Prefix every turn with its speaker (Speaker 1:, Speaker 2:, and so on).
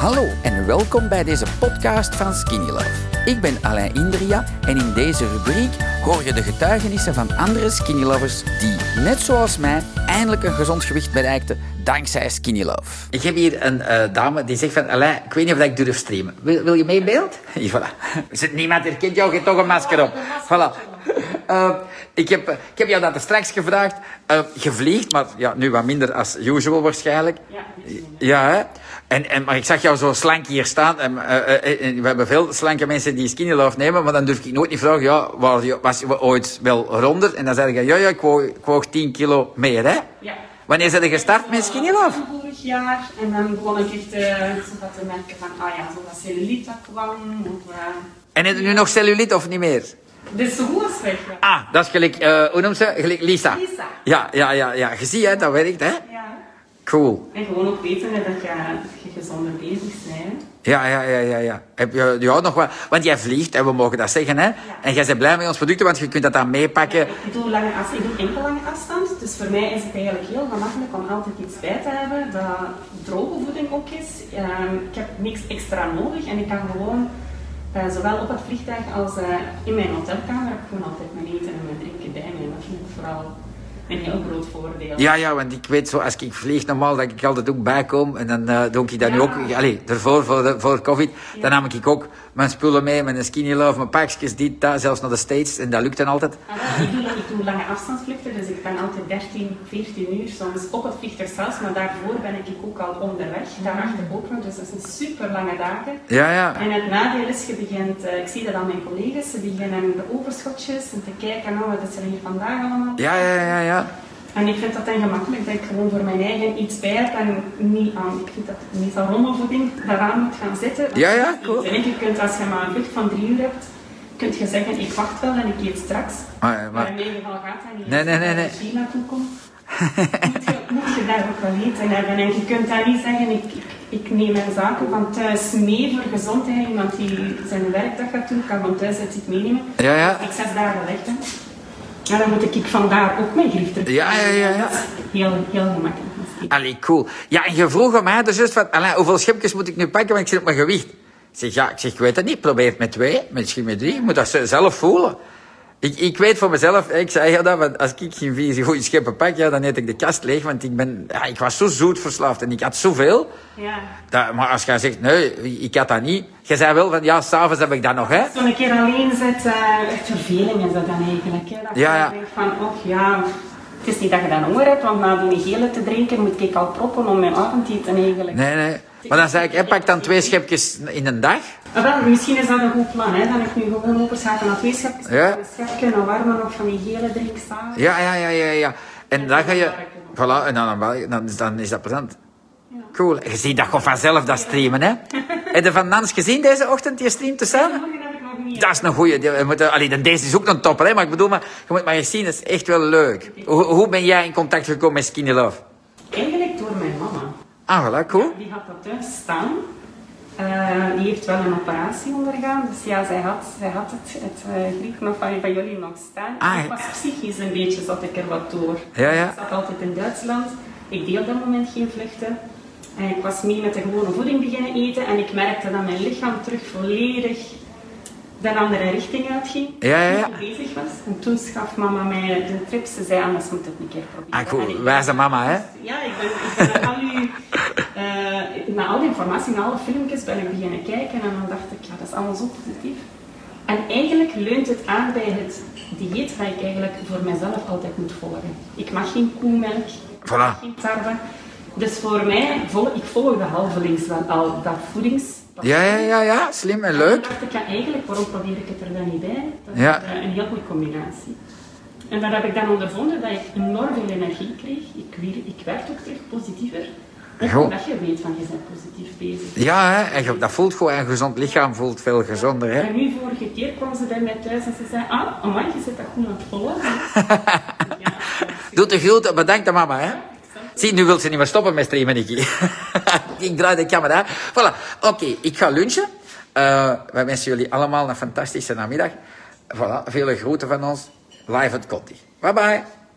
Speaker 1: Hallo en welkom bij deze podcast van Skinny Love. Ik ben Alain Indria en in deze rubriek hoor je de getuigenissen van andere Skinny Lovers die, net zoals mij, eindelijk een gezond gewicht bereikten dankzij Skinny Love. Ik heb hier een eh, dame die zegt van Alain, ik weet niet of ik durf streamen. Wil, wil je mee in beeld? Hier, voilà. Zit- Niemand herkent jou, je hebt toch een masker op. Voilà. Eh, ik, heb, eh, ik heb jou dat er straks gevraagd. Eh, je vliegt, maar ja, nu wat minder als usual waarschijnlijk. Eh, Ja, hè? En, en, maar ik zag jou zo slank hier staan. En, eh, eh, en we hebben veel slanke mensen die skinny love nemen, maar dan durf ik nooit niet vragen, ja, was, je- was je ooit wel ronder? En dan zei ik, ja, ja, ik woog, ik woog 10 kilo meer, hè?
Speaker 2: Ja.
Speaker 1: Wanneer zijn je gestart met skinny love?
Speaker 2: Vorig jaar. En dan begon ik echt eh, zo wat te merken van, ah ja, zo dat cellulite dat kwam. Of, eh,
Speaker 1: En heb je nu nog cellulite of niet meer?
Speaker 2: dit is zo goed als weg. ja.
Speaker 1: Ah, dat is gelijk, eh hoe noem ze? Gelijk Lisa.
Speaker 2: Lisa.
Speaker 1: Ja, ja, ja, ja. Je ziet, hè, dat werkt, hè?
Speaker 2: Ja.
Speaker 1: Cool.
Speaker 2: En gewoon ook weten dat je, dat je gezonder bezig bent.
Speaker 1: Ja, ja, ja, ja, ja. Heb je ja, nog wel? Want jij vliegt, en we mogen dat zeggen, hè? En jij bent blij met ons producten, want je kunt dat dan meepakken.
Speaker 2: Ik doe lange afstand, ik doe enkel lange afstand. Dus voor mij is het eigenlijk heel gemakkelijk om altijd iets bij te hebben dat droge voeding ook is. Ehm, ik heb niks extra nodig en ik kan gewoon, eh, zowel op het vliegtuig als eh, in mijn hotelkamer, heb ik gewoon altijd mijn eten en mijn drinken bij me. En dat vind ik vooral een heel groot voordeel.
Speaker 1: Ja, ja, want ik weet zo, als ik vlieg normaal, dat ik altijd ook bijkom. En dan eh, doe ik dat nu
Speaker 2: Ja.
Speaker 1: ook, allee, ervoor, voor, de- voor COVID. Dan nam ik ook mijn spullen mee, mijn skinny love, mijn pakjes, dit, dat, zelfs naar de States. En dat lukt dan altijd.
Speaker 2: Ah, wel, Ik doe, ik doe lange afstandsvluchten, dus ik ben altijd 13, 14 uur soms op het vliegtuig zelfs, maar daarvoor ben ik ook al onderweg, daarachter ook nog, dus dat zijn super lange dagen.
Speaker 1: Ja, ja.
Speaker 2: En het nadeel is, je begint, eh, ik zie dat aan mijn collega's, ze beginnen de overschotjes en te kijken, nou, wat is er hier vandaag allemaal?
Speaker 1: Ja, ja, ja, ja.
Speaker 2: En ik vind dat dan gemakkelijk dat ik gewoon voor mijn eigen iets bij heb en niet aan, ik vind dat ik niet aan rommelvoeding daaraan moet gaan zitten. Want
Speaker 1: Ja, ja, cool.
Speaker 2: En je kunt, als je maar een vlucht van drie uur hebt, kun je zeggen, ik wacht wel en ik eet straks.
Speaker 1: Maar,
Speaker 2: Maar
Speaker 1: maar,
Speaker 2: in mijn geval gaat dat niet.
Speaker 1: Nee, nee, nee, nee.
Speaker 2: Als je naar China toekomt, moet je, moet je daar ook wel weten hebben. En je kunt daar niet zeggen, ik, ik, ik neem mijn zaken van thuis mee voor gezondheid. Iemand die zijn werkdag gaat doen, kan van thuis uit zit meenemen.
Speaker 1: Ja, ja.
Speaker 2: Als Ik zes dagen weg ben. Ja, dan moet ik vandaar ook mijn grief terug.
Speaker 1: Ja, ja, ja, ja.
Speaker 2: Dat is heel, heel gemakkelijk misschien.
Speaker 1: allee, cool. Ja, en je vroeg aan mij dus juist van, Alain, hoeveel schipjes moet ik nu pakken, want ik zit op mijn gewicht. Ik zeg, ja, ik zeg, ik weet dat niet. Probeer het met twee, misschien met drie. Je moet dat zelf voelen. Ik, ik weet voor mezelf, ik zei ja, dat, want als ik geen vier goede schepen pak, ja, dan eet ik de kast leeg, want ik, ben, ja, ik was zo zoet verslaafd en ik had zoveel.
Speaker 2: Ja.
Speaker 1: Dat, maar als jij zegt, nee, ik had dat niet. Je zei wel van, ja, s'avonds heb ik dat nog, hè.
Speaker 2: Als je een keer alleen zit, eh, echt verveling is dat dan eigenlijk. Hè? Dat
Speaker 1: Ja,
Speaker 2: je
Speaker 1: ja.
Speaker 2: denkt van, och ja, het is niet dat je dan honger hebt, want na die gele te drinken moet ik al proppen om mijn avondeten eigenlijk.
Speaker 1: Nee, nee. Maar dan zei ik, hè, pak dan twee schepjes in een dag.
Speaker 2: Maar wel, misschien is dat een goed plan, hè? dan ik nu gewoon overschakelen naar twee schepjes.
Speaker 1: Ja.
Speaker 2: Een schepje, een warme nog van die gele drink staan.
Speaker 1: Ja, ja, ja, ja, ja. En dan ga je... Voilà, en dan, dan, is, dan is dat plezant. Cool. Je ziet dat gewoon vanzelf, dat streamen, hè. Heb je van Nans gezien deze ochtend, die streamt samen?
Speaker 2: Morgen heb ik nog niet.
Speaker 1: Dat is een goeie. Die- we moeten- allee, dan- deze is ook een topper, hè. Maar ik bedoel, maar, je moet maar eens zien, dat is echt wel leuk. Hoe, hoe ben jij in contact gekomen met Skinny Love?
Speaker 2: Eigenlijk door mijn mama.
Speaker 1: Ah, voilà, cool.
Speaker 2: Die had dat thuis staan. Eh, die heeft wel een operatie ondergaan, dus ja, zij had, zij had het, het eh, griep nog van, van jullie nog staan.
Speaker 1: Ah,
Speaker 2: ik was psychisch een beetje, zat ik er wat door.
Speaker 1: Ja, ja.
Speaker 2: Ik zat altijd in Duitsland, ik deed op dat moment geen vluchten. En ik was mee met de gewone voeding beginnen eten en ik merkte dat mijn lichaam terug volledig de andere richting uitging.
Speaker 1: Ja, ja, ja.
Speaker 2: Niet mee bezig was. En toen schaf mama mij de trip, ze zei, anders moet het een keer proberen.
Speaker 1: Ah,
Speaker 2: En ik-
Speaker 1: cool. Wijze mama, hè.
Speaker 2: ja, ik ben, ik ben naar al uw, eh, naar al die informatie, naar alle filmpjes ben ik beginnen kijken en dan dacht ik, ja, dat is allemaal zo positief. En eigenlijk leunt het aan bij het dieet dat ik eigenlijk voor mezelf altijd moet volgen. Ik mag geen koemelk, ik mag
Speaker 1: Voilà.
Speaker 2: geen tarwe. Dus voor mij, vol- ik volg de halvelings wel al, dat voedings.
Speaker 1: Ja, ja, ja, ja. Slim en
Speaker 2: En
Speaker 1: leuk.
Speaker 2: toen dacht ik, ja, eigenlijk, waarom probeer ik het er dan niet bij? Dat is
Speaker 1: Ja.
Speaker 2: eh, een heel goede combinatie. En daar heb ik dan ondervonden dat ik enorm veel energie kreeg. Ik, wier- ik werd ook terug positiever. Ook
Speaker 1: Goh.
Speaker 2: omdat je weet van, je bent positief bezig.
Speaker 1: Ja, hè. En je- dat voelt gewoon, een gezond lichaam voelt veel gezonder, hè.
Speaker 2: En nu, vorige keer kwam ze bij mij thuis en ze zei, ah, amai, je zit dat goed aan het volgen. ja,
Speaker 1: Doe de groeten, bedankt aan mama, hè. Zie, nu wil ze niet meer stoppen met streamen, Nicky. ik draai de camera. Voilà, oké, ik ga lunchen. Eh, wij wensen jullie allemaal een fantastische namiddag. Voilà, vele groeten van ons. Live at Conti. Bye bye.